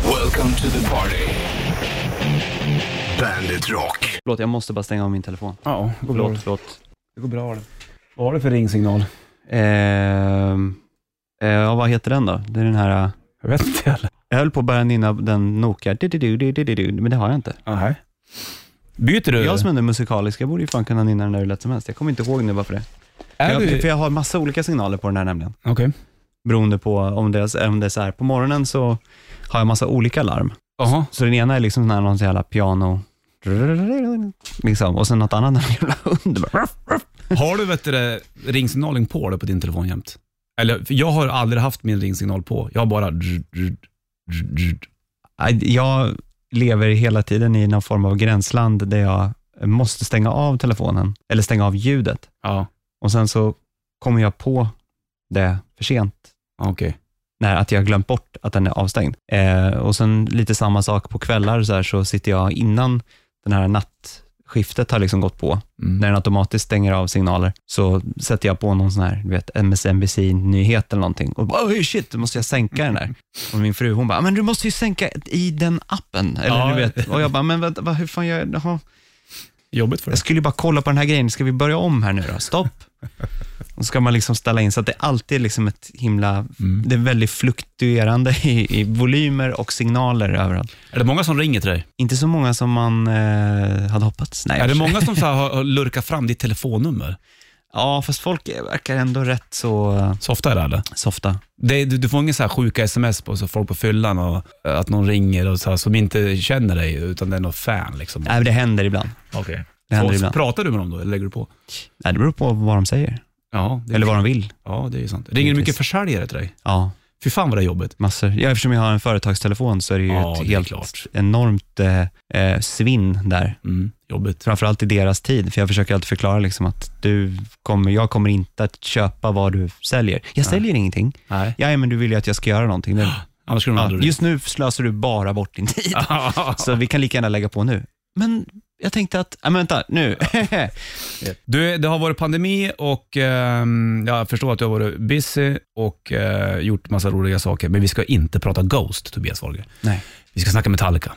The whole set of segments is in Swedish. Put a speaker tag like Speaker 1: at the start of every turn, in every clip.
Speaker 1: Welcome to the party. Bandit Rock.
Speaker 2: Förlåt, jag måste bara stänga av min telefon.
Speaker 3: Ja, det går bra.
Speaker 2: Förlåt, förlåt.
Speaker 3: Det går bra det. Vad har du för ringsignal?
Speaker 2: Ehm, eh, ja, vad heter den då? Det är den här... eh,
Speaker 3: Jag vet inte heller.
Speaker 2: Jag höll på att bära nynna den Nokia, du-du-du-du-du-du, men det har jag inte.
Speaker 3: Nej. Byter du?
Speaker 2: Jag som ändå är musikalisk, jag borde ju fan kunna nynna den där hur lätt som helst. Jag kommer inte ihåg nu varför det.
Speaker 3: är
Speaker 2: Jag,
Speaker 3: du...
Speaker 2: för
Speaker 3: Okej.
Speaker 2: jag har massa olika signaler på den här nämligen. Beroende på om det, är, om det är så här, på morgonen så har jag massa olika larm.
Speaker 3: Jaha.
Speaker 2: Så den ena är liksom sån här, någon sån jävla piano, liksom. Och sen något annat, någon jävla hund. bara.
Speaker 3: Har du vet du, det, ringsignalen på då, på din telefon jämt? Eller, för jag har aldrig haft min ringsignal på. Jag har bara...
Speaker 2: Nej, Jag lever hela tiden i någon form av gränsland där jag måste stänga av telefonen, eller stänga av ljudet.
Speaker 3: Ja,
Speaker 2: Och sen så kommer jag på det för sent,
Speaker 3: okej.
Speaker 2: när att jag har glömt bort att den är avstängd. Eh, och sen lite samma sak på kvällar, så, här, så sitter jag innan den här nattskiftet har liksom gått på, när
Speaker 3: Mm.
Speaker 2: den automatiskt stänger av signaler, så sätter jag på någon sån här, du vet, MSNBC-nyhet eller någonting och bara, oj shit, då måste jag sänka den där. Och min fru, hon bara, men du måste ju sänka i den appen. Eller
Speaker 3: Ja.
Speaker 2: du vet. Och jag bara, men vänta, vad, hur fan gör jag? Jaha.
Speaker 3: Jobbigt för
Speaker 2: Jag
Speaker 3: dig.
Speaker 2: skulle ju bara kolla på den här grejen, ska vi börja om här nu då? Stopp. Och så ska man liksom ställa in så att det alltid är liksom ett himla,
Speaker 3: Mm.
Speaker 2: det är väldigt fluktuerande i, i volymer och signaler överallt.
Speaker 3: Är det många som ringer till dig?
Speaker 2: Inte så många som man eh, hade hoppats. Nej,
Speaker 3: Är det
Speaker 2: jag-
Speaker 3: många som så här, har, har lurkat fram ditt telefonnummer?
Speaker 2: Ja, fast folk verkar ändå rätt så eh,
Speaker 3: Så ofta är det eller?
Speaker 2: softa.
Speaker 3: Det, du, du får inga så här sjuka sms på så folk på fyllan och eh, att någon ringer och så här, som inte känner dig utan det är någon fan liksom.
Speaker 2: Nej, men det händer ibland.
Speaker 3: Okej.
Speaker 2: Det händer
Speaker 3: Så- så
Speaker 2: ibland.
Speaker 3: Pratar du med dem då eller lägger du på?
Speaker 2: Nej, det beror på vad de säger,
Speaker 3: Ja, det är,
Speaker 2: eller vad de vill.
Speaker 3: ja, det är ju sant. Ringer det mycket
Speaker 2: Precis.
Speaker 3: försäljare till dig?
Speaker 2: Ja,
Speaker 3: Fy fan vad det är jobbigt.
Speaker 2: massor. Ja, eftersom jag har en företagstelefon så är det ju
Speaker 3: Ja,
Speaker 2: ett
Speaker 3: det är
Speaker 2: helt
Speaker 3: klart.
Speaker 2: enormt eh, eh, svinn där.
Speaker 3: Mm, jobbigt.
Speaker 2: framförallt i deras tid, för jag försöker alltid förklara liksom att du kommer, jag kommer inte att köpa vad du säljer. Jag säljer ingenting.
Speaker 3: Nej.
Speaker 2: Ja, men du vill ju att jag ska göra någonting. Det,
Speaker 3: Annars skulle de
Speaker 2: ja,
Speaker 3: aldrig
Speaker 2: just nu slösar du bara bort din tid,
Speaker 3: ringa.
Speaker 2: så vi kan lika gärna lägga på nu. Men jag tänkte att, ja, men vänta, nu.
Speaker 3: Du, det har varit pandemi och ehm, jag förstår att du har varit busy och eh, gjort massa roliga saker. Men vi ska inte prata Ghost, Tobias Wahlgren.
Speaker 2: Nej.
Speaker 3: Vi ska snacka Metallica.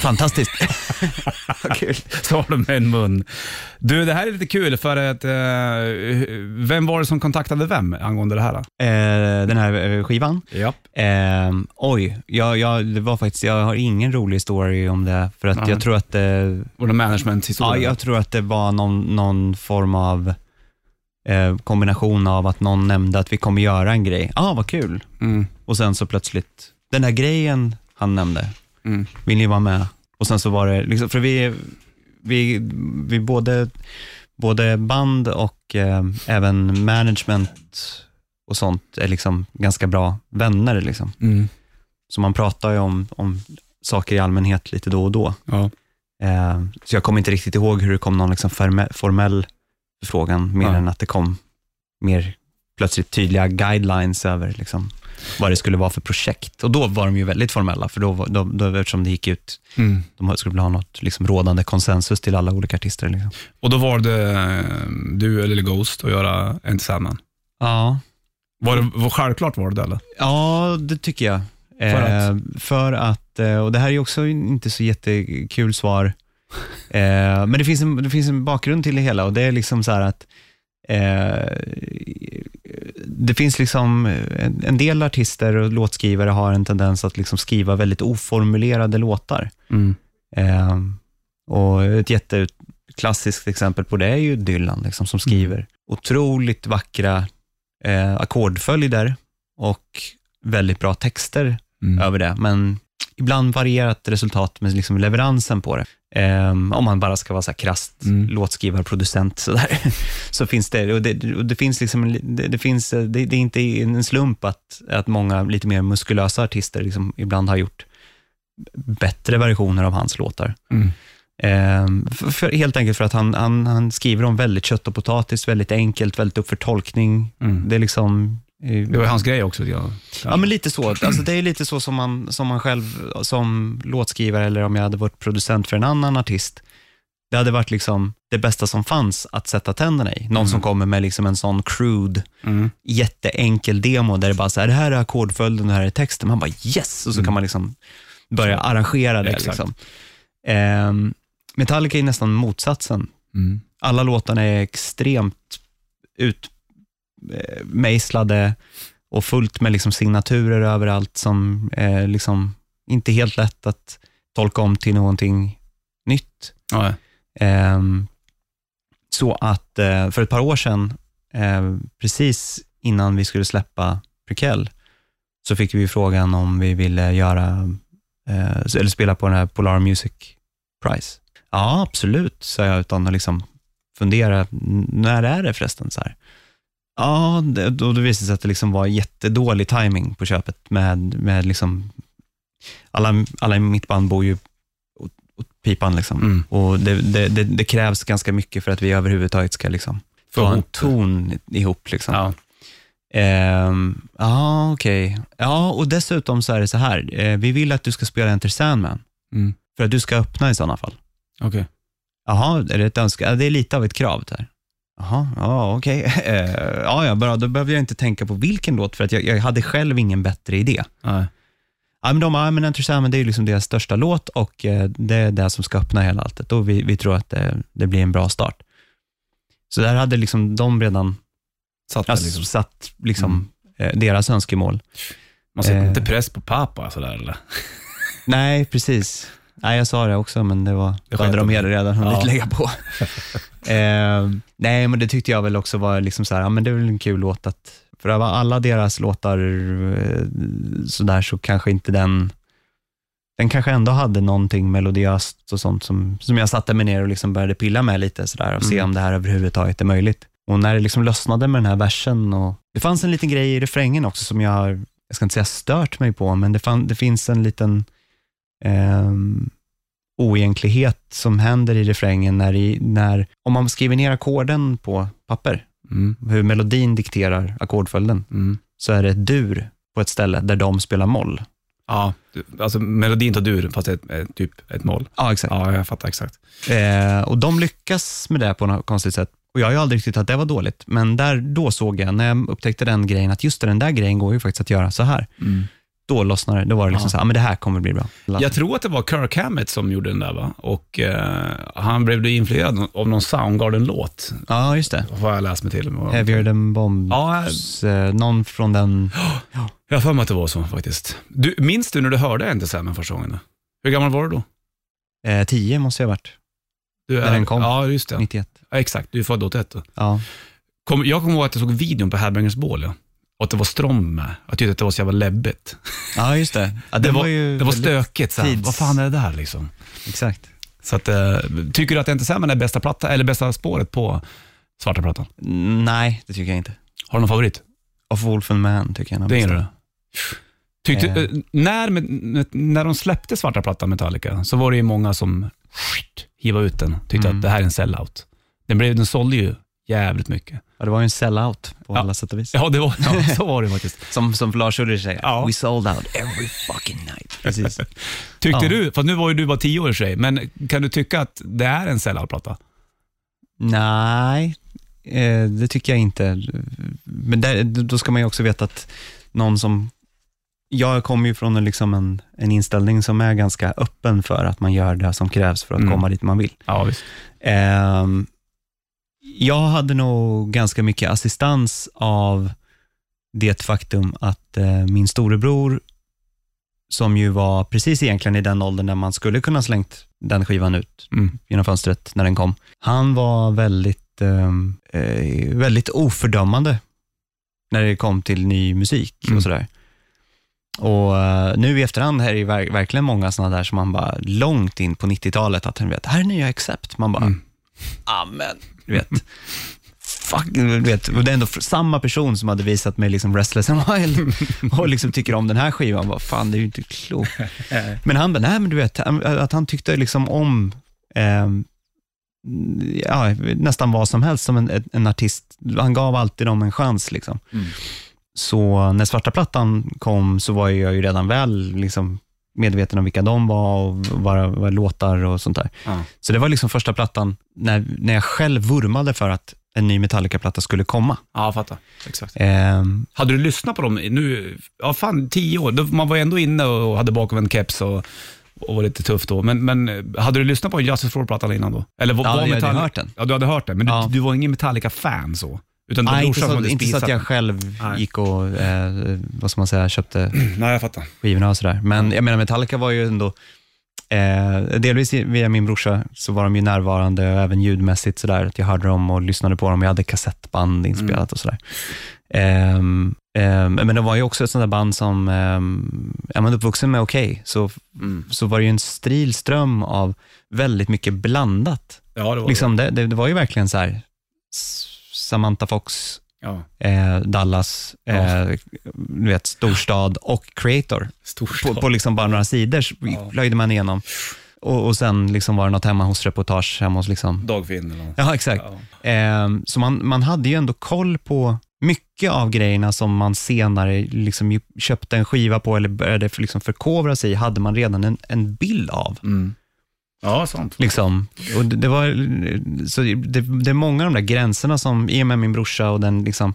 Speaker 2: Fantastiskt. Vad kul.
Speaker 3: Så har du med en mun. Du, det här är lite kul för att eh, vem var det som kontaktade vem angående det här? Då?
Speaker 2: Eh, den här eh, skivan.
Speaker 3: Japp.
Speaker 2: Ehm, oj, jag, jag, det var faktiskt, jag har ingen rolig story om det, för att
Speaker 3: Nej.
Speaker 2: jag tror att eh,
Speaker 3: Var det managementhistoria?
Speaker 2: Ja, jag tror att det var någon, någon form av eh, kombination av att någon nämnde att vi kommer göra en grej. Ja, ah, vad kul.
Speaker 3: Mm.
Speaker 2: Och sen så plötsligt, den här grejen han nämnde,
Speaker 3: Mm.
Speaker 2: vill ni vara med? Och sen så var det, liksom, för vi, vi, vi både, både band och eh, även management och sånt är liksom ganska bra vänner. Liksom.
Speaker 3: Mm.
Speaker 2: Så man pratar ju om, om saker i allmänhet lite då och då.
Speaker 3: Ja.
Speaker 2: Eh, så jag kommer inte riktigt ihåg hur det kom någon liksom ferme- formell förfrågan, mer
Speaker 3: Nej.
Speaker 2: än att det kom mer plötsligt tydliga guidelines över liksom, vad det skulle vara för projekt. Och då var de ju väldigt formella, för då, var- då, då, eftersom det gick ut,
Speaker 3: Mm.
Speaker 2: de skulle ha något liksom, rådande konsensus till alla olika artister. Liksom.
Speaker 3: Och då valde eh, du eller Ghost att göra en tillsammans.
Speaker 2: Ja.
Speaker 3: Var det,
Speaker 2: Mm.
Speaker 3: var, självklart var det det eller?
Speaker 2: ja, det tycker jag.
Speaker 3: För att?
Speaker 2: Eh, för att, eh, och det här är ju också inte så jättekul svar, eh, men det finns, en, det finns en bakgrund till det hela och det är liksom så här att Eh, det finns liksom, en, en del artister och låtskrivare har en tendens att liksom skriva väldigt oformulerade låtar.
Speaker 3: Mm.
Speaker 2: Eh, och ett jätteklassiskt exempel på det är ju Dylan liksom, som skriver otroligt vackra eh, ackordföljder och väldigt bra texter
Speaker 3: Mm.
Speaker 2: över det, men ibland varierat resultat med liksom leveransen på det. Ehm, om man bara ska vara så här krasst
Speaker 3: Mm.
Speaker 2: låtskrivarproducent sådär, så finns det, och det, och det finns liksom, en li- det, det, finns, eh, det, det är inte en slump att, att många lite mer muskulösa artister liksom ibland har gjort bättre versioner av hans låtar.
Speaker 3: Mm.
Speaker 2: Ehm, för, för, helt enkelt för att han, han, han skriver om väldigt kött och potatis, väldigt enkelt, väldigt upp för tolkning.
Speaker 3: Mm.
Speaker 2: Det är liksom... eh,
Speaker 3: Det var ju hans grej också. Ja,
Speaker 2: Ja, men lite så. Alltså, det är lite så som man, som man själv, som låtskrivare eller om jag hade varit producent för en annan artist, Det hade varit liksom det bästa som fanns att sätta tänderna i. Någon som kommer med liksom en sån crude, jätteenkel demo där det bara så här, det här är ackordföljden, det här är texten. Man bara yes! Och så kan man liksom börja arrangera det.
Speaker 3: Exakt.
Speaker 2: Liksom. Ehm, Metallica är nästan motsatsen.
Speaker 3: Mm.
Speaker 2: Alla låtarna är extremt utmejslade och fullt med liksom signaturer överallt som är liksom inte helt lätt att tolka om till någonting nytt.
Speaker 3: Ja, ja.
Speaker 2: Ehm, så att eh, för ett par år sedan, eh, precis innan vi skulle släppa Prequel, så fick vi frågan om vi ville göra, eh, eller spela på den här Polar Music Prize. Ja, absolut, sa jag utan att liksom fundera, "N- när är det förresten? Så här. Ja, det, då, då visade det sig att det liksom var jättedålig timing på köpet med, med liksom, alla, alla i mitt band bor ju åt, åt pipan liksom.
Speaker 3: Mm.
Speaker 2: Och det, det, det, det krävs ganska mycket för att vi överhuvudtaget ska liksom
Speaker 3: Få
Speaker 2: få en
Speaker 3: ihop det.
Speaker 2: ton ihop. Liksom.
Speaker 3: Ja.
Speaker 2: Ehm, ja, okej. Ja, och dessutom så är det så här. Eh, vi vill att du ska spela Enter Sandman,
Speaker 3: Mm.
Speaker 2: för att du ska öppna i sådana fall.
Speaker 3: Okej.
Speaker 2: Jaha, är det ett önska? Ja, det är lite av ett krav där. Jaha, ja okej. Eh, ja, ja, bra. Då behöver jag inte tänka på vilken låt, för att jag, jag hade själv ingen bättre idé.
Speaker 3: Nej.
Speaker 2: Ja, men de bara, ja, men Enter Sandman, det är ju liksom deras största låt och eh, det är det som ska öppna hela alltet och vi, vi tror att det, det blir en bra start. Så där hade liksom de redan
Speaker 3: Satt där
Speaker 2: alltså,
Speaker 3: liksom.
Speaker 2: satt liksom,
Speaker 3: Mm.
Speaker 2: eh, deras önskemål.
Speaker 3: Man sätter
Speaker 2: eh.
Speaker 3: inte press på pappa sådär eller?
Speaker 2: Nej, precis. Nej, jag sa det också, men det var,
Speaker 3: Det
Speaker 2: då hade de
Speaker 3: skedde.
Speaker 2: hela redan hunnit
Speaker 3: Ja.
Speaker 2: lägga på. eh, nej, men det tyckte jag väl också var liksom så här, ja, men det är väl en kul låt att, för av alla deras låtar eh, sådär så kanske inte den, den kanske ändå hade någonting melodiöst och sånt som, som jag satte mig ner och liksom började pilla med lite sådär och se
Speaker 3: Mm.
Speaker 2: om det här överhuvudtaget är möjligt. Och när det liksom lösnade med den här versen och det fanns en liten grej i refrängen också som jag, har- jag ska inte säga stört mig på, men det, fan, det finns en liten ehm, oegentlighet som händer i refrängen när, i, när om man skriver ner ackorden på papper,
Speaker 3: Mm.
Speaker 2: hur melodin dikterar ackordföljden,
Speaker 3: Mm.
Speaker 2: så är det ett dur på ett ställe där de spelar moll.
Speaker 3: Ja, du- alltså melodin tar dur fast det är ett, ett, typ ett mål.
Speaker 2: Ja, exakt.
Speaker 3: Ja, jag fattar exakt.
Speaker 2: Eh, och de lyckas med det på något konstigt sätt. Och jag har ju aldrig riktigt att det var dåligt, men där, då såg jag, när jag upptäckte den grejen, att just det, den där grejen går ju faktiskt att göra så här. Då lossnade det. Då var det liksom
Speaker 3: Ja.
Speaker 2: så här, ah, men det här kommer bli bra.
Speaker 3: Jag tror att det var Kirk Hammett som gjorde den där va? Och eh, han blev då influerad av någon Soundgarden-låt,
Speaker 2: Ja, just det.
Speaker 3: har jag läst mig till.
Speaker 2: Heavier than bombs.
Speaker 3: Ja,
Speaker 2: Eh, någon från den...
Speaker 3: jag har för mig att det var så faktiskt. Du, minns du när du hörde Enter Sandman första gången? Hur gammal var du då?
Speaker 2: Eh, tio måste jag ha varit.
Speaker 3: Du
Speaker 2: När den kom.
Speaker 3: Ja, just det.
Speaker 2: 91.
Speaker 3: Ja, exakt, du är född 81 då.
Speaker 2: Ja.
Speaker 3: Kom, jag kommer ihåg att jag såg videon på Headbangers Ball, ja. och att det var Strom med. Jag tyckte att det var så jävla läbbigt.
Speaker 2: ja, just det. Ja, den
Speaker 3: det var,
Speaker 2: ju
Speaker 3: det var
Speaker 2: väldigt-
Speaker 3: stökigt. Så här.
Speaker 2: tids-
Speaker 3: Vad fan är det där liksom?
Speaker 2: Exakt.
Speaker 3: Så att, eh, tycker du att Enter Sandman är bästa, platta, eller bästa spåret på svarta plattan?
Speaker 2: Nej, det tycker jag inte.
Speaker 3: Har du någon favorit?
Speaker 2: Of Wolf and Man tycker jag nog
Speaker 3: Det
Speaker 2: mest
Speaker 3: gillar du? Tyckte,
Speaker 2: Eh.
Speaker 3: eh, när, med, när de släppte svarta plattan Metallica så var det ju många som skit, hivade ut den. Tyckte
Speaker 2: Mm.
Speaker 3: att det här är en sellout. Den, blev, den sålde ju jävligt mycket.
Speaker 2: Ja, det var ju en sellout på
Speaker 3: Ja.
Speaker 2: alla sätt och vis.
Speaker 3: Ja, det var, ja så var det faktiskt.
Speaker 2: Som, som Lars Ulrich säger,
Speaker 3: Ja.
Speaker 2: we sold out every fucking night. Precis.
Speaker 3: Tyckte
Speaker 2: Ja.
Speaker 3: du, för nu var ju du bara tio år i och för sig, men kan du tycka att det är en sellout-platta?
Speaker 2: Nej, eh, det tycker jag inte. Men där, då ska man ju också veta att någon som... Jag kommer ju från en, liksom en, en inställning som är ganska öppen för att man gör det som krävs för att
Speaker 3: Mm.
Speaker 2: komma dit man vill.
Speaker 3: Ja, visst.
Speaker 2: Ehm, jag hade nog ganska mycket assistans av det faktum att eh, min storebror, som ju var precis egentligen i den åldern när man skulle kunna slängt den skivan ut
Speaker 3: Mm.
Speaker 2: genom fönstret när den kom, han var väldigt, ehm, eh, väldigt ofördömande när det kom till ny musik
Speaker 3: Mm.
Speaker 2: och sådär. Och eh, nu i efterhand här är det verk- verkligen många sådana där som man bara långt in på 90-talet att han vet, här är nya Accept. Man bara,
Speaker 3: Mm.
Speaker 2: amen, du vet. Fuck, du vet. Och det är ändå fr- samma person som hade visat mig liksom Restless and Wild och liksom tycker om den här skivan. Vad fan, det är ju inte klokt. Men han bara, nej men du vet, han- att han tyckte liksom om ehm, ja, nästan vad som helst som en, en artist. Han gav alltid dem en chans. Liksom.
Speaker 3: Mm.
Speaker 2: Så när Svarta Plattan kom så var jag ju redan väl liksom, medveten om vilka de var och vad, vad låtar och sånt där.
Speaker 3: Ja.
Speaker 2: Så det var liksom första plattan när, när jag själv vurmade för att en ny Metallica-platta skulle komma.
Speaker 3: ja, jag fattar. Exakt.
Speaker 2: Ehm,
Speaker 3: Hade du lyssnat på dem nu, ja fan tio år, Då- man var ju ändå inne och hade bakomvänd keps och, och var lite tuff då. Men, men eh, hade du lyssnat på Justice for All-plattan innan då? Eller var,
Speaker 2: Ja,
Speaker 3: var
Speaker 2: jag hade
Speaker 3: Metallica-
Speaker 2: hört den.
Speaker 3: Ja, du hade hört den, men
Speaker 2: Ja.
Speaker 3: du, du var ingen Metallica-fan så? Utan det var
Speaker 2: nej, inte
Speaker 3: brorsan som
Speaker 2: så,
Speaker 3: hade
Speaker 2: inte så
Speaker 3: spisat
Speaker 2: att jag
Speaker 3: den.
Speaker 2: själv
Speaker 3: Nej.
Speaker 2: gick och eh, vad ska man säga, köpte
Speaker 3: Nej, jag fattar.
Speaker 2: skivorna och sådär. Men jag menar Metallica var ju ändå, eh, delvis via min brorsa, så var de ju närvarande och även ljudmässigt sådär, att jag hörde dem och lyssnade på dem. Jag hade
Speaker 3: Mm.
Speaker 2: kassettband inspelat och sådär. Ehm, ehm, men de var ju också ett sånt där band som, ehm, är man uppvuxen med Okej, så, så var det ju en stril ström av väldigt mycket blandat.
Speaker 3: Ja, det var
Speaker 2: Liksom det, det, det var ju verkligen så här, S- Samantha Fox,
Speaker 3: Ja.
Speaker 2: eh, Dallas, eh, du vet, storstad och Creator på,
Speaker 3: Storstad.
Speaker 2: på liksom bara några sidor så
Speaker 3: Ja.
Speaker 2: plöjde man igenom. Och, och sen liksom var det något hemma hos reportage hemma hos liksom.
Speaker 3: Dagfinn eller något.
Speaker 2: Ja, exakt.
Speaker 3: Ja.
Speaker 2: Ehm, så man, man hade ju ändå koll på mycket av grejerna som man senare liksom ju- köpte en skiva på eller började för- liksom förkovra sig i, hade man redan en, en bild av.
Speaker 3: Mm. ja, sant.
Speaker 2: Liksom. Och det, det, var, så det, det är många av de där gränserna som, i och med min brorsa och den, liksom,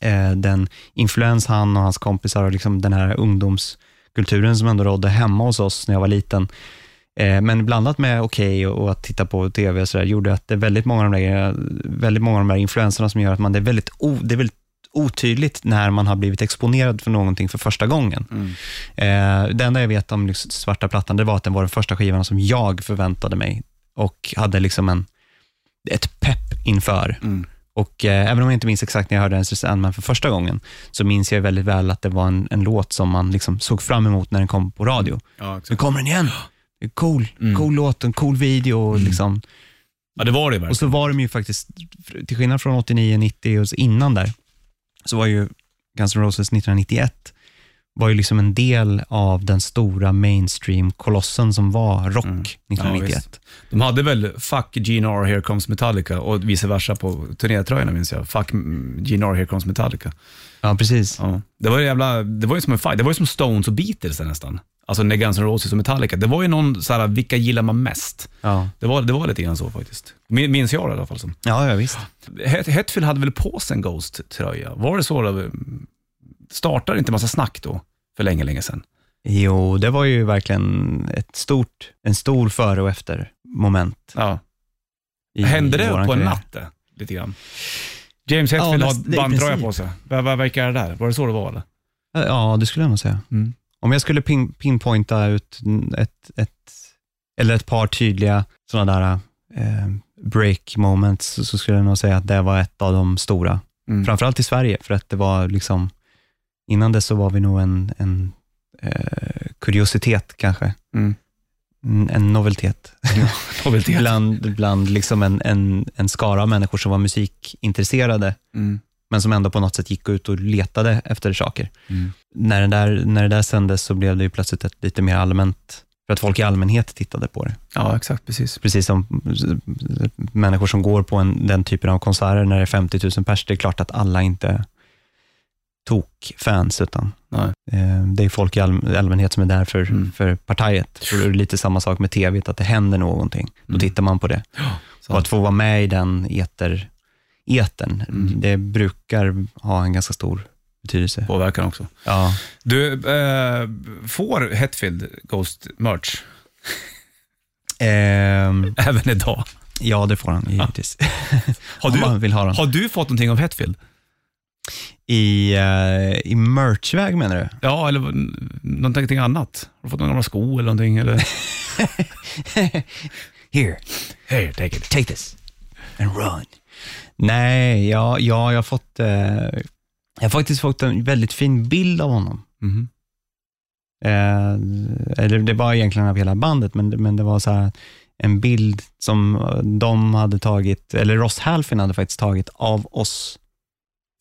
Speaker 2: eh, den influens han och hans kompisar och liksom den här ungdomskulturen som ändå rådde hemma hos oss när jag var liten. Eh, men blandat med Okej och, och att titta på tv och sådär gjorde att det är väldigt många av de där, väldigt många av de där influenserna som gör att man, det är väldigt, o, det är väldigt otydligt när man har blivit exponerad för någonting för första gången.
Speaker 3: Mm.
Speaker 2: Eh, det enda jag vet om liksom Svarta plattan, det var att den var den första skivan som jag förväntade mig och hade liksom en, ett pepp inför.
Speaker 3: Mm.
Speaker 2: Och eh, även om jag inte minns exakt när jag hörde Ernest Sandman för första gången, så minns jag väldigt väl att det var en, en låt som man liksom såg fram emot när den kom på radio.
Speaker 3: Ja,
Speaker 2: Nu
Speaker 3: exakt.
Speaker 2: kommer den igen! Det är Cool,
Speaker 3: Mm.
Speaker 2: cool låt, en cool video. och Liksom.
Speaker 3: ja, det var det ju
Speaker 2: Och
Speaker 3: verkligen.
Speaker 2: så var de ju faktiskt, till skillnad från 89, 90 och så innan där, så var ju Guns N' Roses 1991 var ju liksom en del av den stora mainstream-kolossen som var rock
Speaker 3: Mm.
Speaker 2: 1991.
Speaker 3: De hade väl Fuck GNR, Here Comes Metallica och vice versa på turnétröjorna minns jag. Fuck mm, GNR, Here Comes Metallica.
Speaker 2: Ja, precis.
Speaker 3: Ja. Det, var ju jävla, det var ju som en fight. Det var ju som Stones och Beatles nästan. Alltså när Guns N' Roses och Metallica. Det var ju någon så här, vilka gillar man mest?
Speaker 2: Ja,
Speaker 3: Det var, det var lite grann så faktiskt. Min- Minns jag det, i alla fall som.
Speaker 2: ja, ja visst.
Speaker 3: Het- Hetfield hade väl på sig en Ghost-tröja? Var det så? Då? Startade inte massa snack då? För länge, länge sedan.
Speaker 2: Jo, det var ju verkligen ett stort, en stor före och efter moment.
Speaker 3: Ja.
Speaker 2: i
Speaker 3: Hände det
Speaker 2: våran
Speaker 3: på en
Speaker 2: karriär.
Speaker 3: natt det? Lite grann. James Hetfield
Speaker 2: Ja,
Speaker 3: har
Speaker 2: näst- det- i
Speaker 3: bandtröja
Speaker 2: princip.
Speaker 3: på sig. Vad vad verkar det där? Var det så det var? Eller?
Speaker 2: Eh, Ja, det skulle jag nog säga.
Speaker 3: Mm.
Speaker 2: Om jag skulle pin pinpointa ut ett, ett, eller ett par tydliga sådana där eh, break moments så, så skulle jag nog säga att det var ett av de stora. Framförallt i Sverige, för att det var liksom, innan dess så var vi nog en, en eh, kuriositet kanske.
Speaker 3: Mm.
Speaker 2: En- En novelitet.
Speaker 3: Noveltet.
Speaker 2: bland bland liksom en, en, en skara av människor som var musikintresserade,
Speaker 3: Mm.
Speaker 2: men som ändå på något sätt gick ut och letade efter saker
Speaker 3: Mm.
Speaker 2: när, den där, när det där sändes så blev det ju plötsligt ett lite mer allmänt, för att folk i allmänhet tittade på det.
Speaker 3: Ja, exakt. Precis.
Speaker 2: Precis som eh, människor som går på en, den typen av konserter när det är 50 000 pers, det är klart att alla inte tok fans utan
Speaker 3: Nej.
Speaker 2: eh, det är folk i all, allmänhet som är där för,
Speaker 3: Mm.
Speaker 2: för partiet. Så det är lite samma sak med tv, att det händer någonting. Då
Speaker 3: Mm.
Speaker 2: tittar man på det.
Speaker 3: Så.
Speaker 2: Och att få vara med i den eter, etern,
Speaker 3: Mm.
Speaker 2: det brukar ha en ganska stor betydelse.
Speaker 3: Påverkan också.
Speaker 2: Ja.
Speaker 3: Du, eh, får Hetfield Ghost-merch
Speaker 2: Ehm,
Speaker 3: även idag?
Speaker 2: Ja, det får han givetvis.
Speaker 3: Ah. Har
Speaker 2: Om
Speaker 3: du,
Speaker 2: man vill ha dem.
Speaker 3: har du fått någonting av Hetfield?
Speaker 2: I, eh, I merchväg menar du?
Speaker 3: Ja, eller n- någonting annat? Har du fått några gamla skor eller någonting? Eller?
Speaker 2: Here,
Speaker 3: Hey, take it.
Speaker 2: take this and run. Nej, ja, ja, jag har fått eh, jag har faktiskt fått en väldigt fin bild av honom.
Speaker 3: Mhm.
Speaker 2: Eh, eller det var egentligen av hela bandet, men, men det var så här en bild som eh, de hade tagit, eller Ross Halfin hade faktiskt tagit av oss,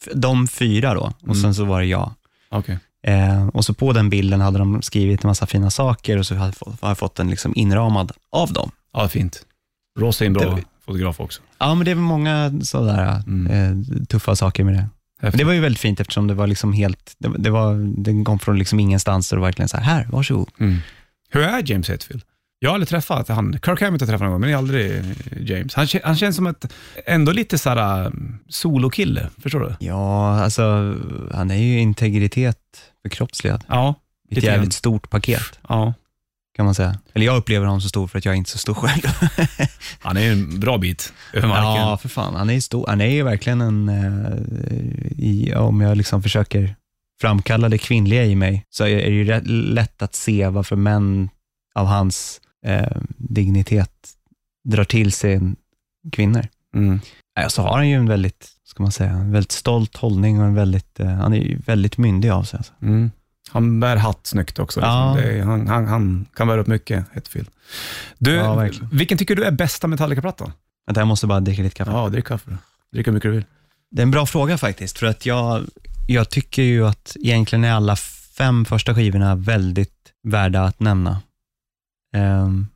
Speaker 2: F- de fyra då, och
Speaker 3: Mm.
Speaker 2: sen så var det jag.
Speaker 3: Okej.
Speaker 2: Eh, och så på den bilden hade de skrivit en massa fina saker och så har jag fått- har jag fått den liksom inramad av dem.
Speaker 3: Ja, fint. Ross är en
Speaker 2: Det
Speaker 3: bra
Speaker 2: var-
Speaker 3: fotograf också.
Speaker 2: Ja, men det är väl många sådär
Speaker 3: Mm.
Speaker 2: eh, tuffa saker med det. Men det var ju väldigt fint eftersom det var liksom helt, det, det var, den kom från liksom ingenstans och det var verkligen så här, här, varsågod.
Speaker 3: Mm. Hur är James Hetfield? Jag har aldrig träffat han. Kirk Hammett har jag träffat någon gång, men jag har aldrig eh, James. Han, kä- han känns som ett, ändå lite såhär eh, solokille, förstår du?
Speaker 2: Ja, alltså han är ju integritet förkroppsligad.
Speaker 3: Ja,
Speaker 2: Ett
Speaker 3: Lite grann.
Speaker 2: jävligt stort paket
Speaker 3: ja.
Speaker 2: kan man säga. Eller jag upplever honom så stor för att jag är inte så stor själv.
Speaker 3: Han är ju en bra bit över marken.
Speaker 2: Ja, för fan. Han är ju stor. Han är ju verkligen en, eh, i, om jag liksom försöker framkalla det kvinnliga i mig, så är det ju rätt lätt att se varför män av hans eh, dignitet drar till sig en- kvinnor.
Speaker 3: Mm.
Speaker 2: Nej, så har han ju en väldigt, ska man säga, en väldigt stolt hållning och en väldigt, eh, han är ju väldigt myndig av sig. Alltså.
Speaker 3: Mm. Han bär hatt snyggt också. Liksom.
Speaker 2: Ja.
Speaker 3: Det är, han, han, han kan bära upp mycket, Hetfield. Du,
Speaker 2: Ja, verkligen.
Speaker 3: vilken tycker du är bästa Metallica-plattan?
Speaker 2: Vänta, jag måste bara dricka lite kaffe.
Speaker 3: Ja, drick kaffe. Drick hur mycket du vill.
Speaker 2: Det är en bra fråga faktiskt, för att jag, jag tycker ju att egentligen är alla fem första skivorna väldigt värda att nämna. Ehm,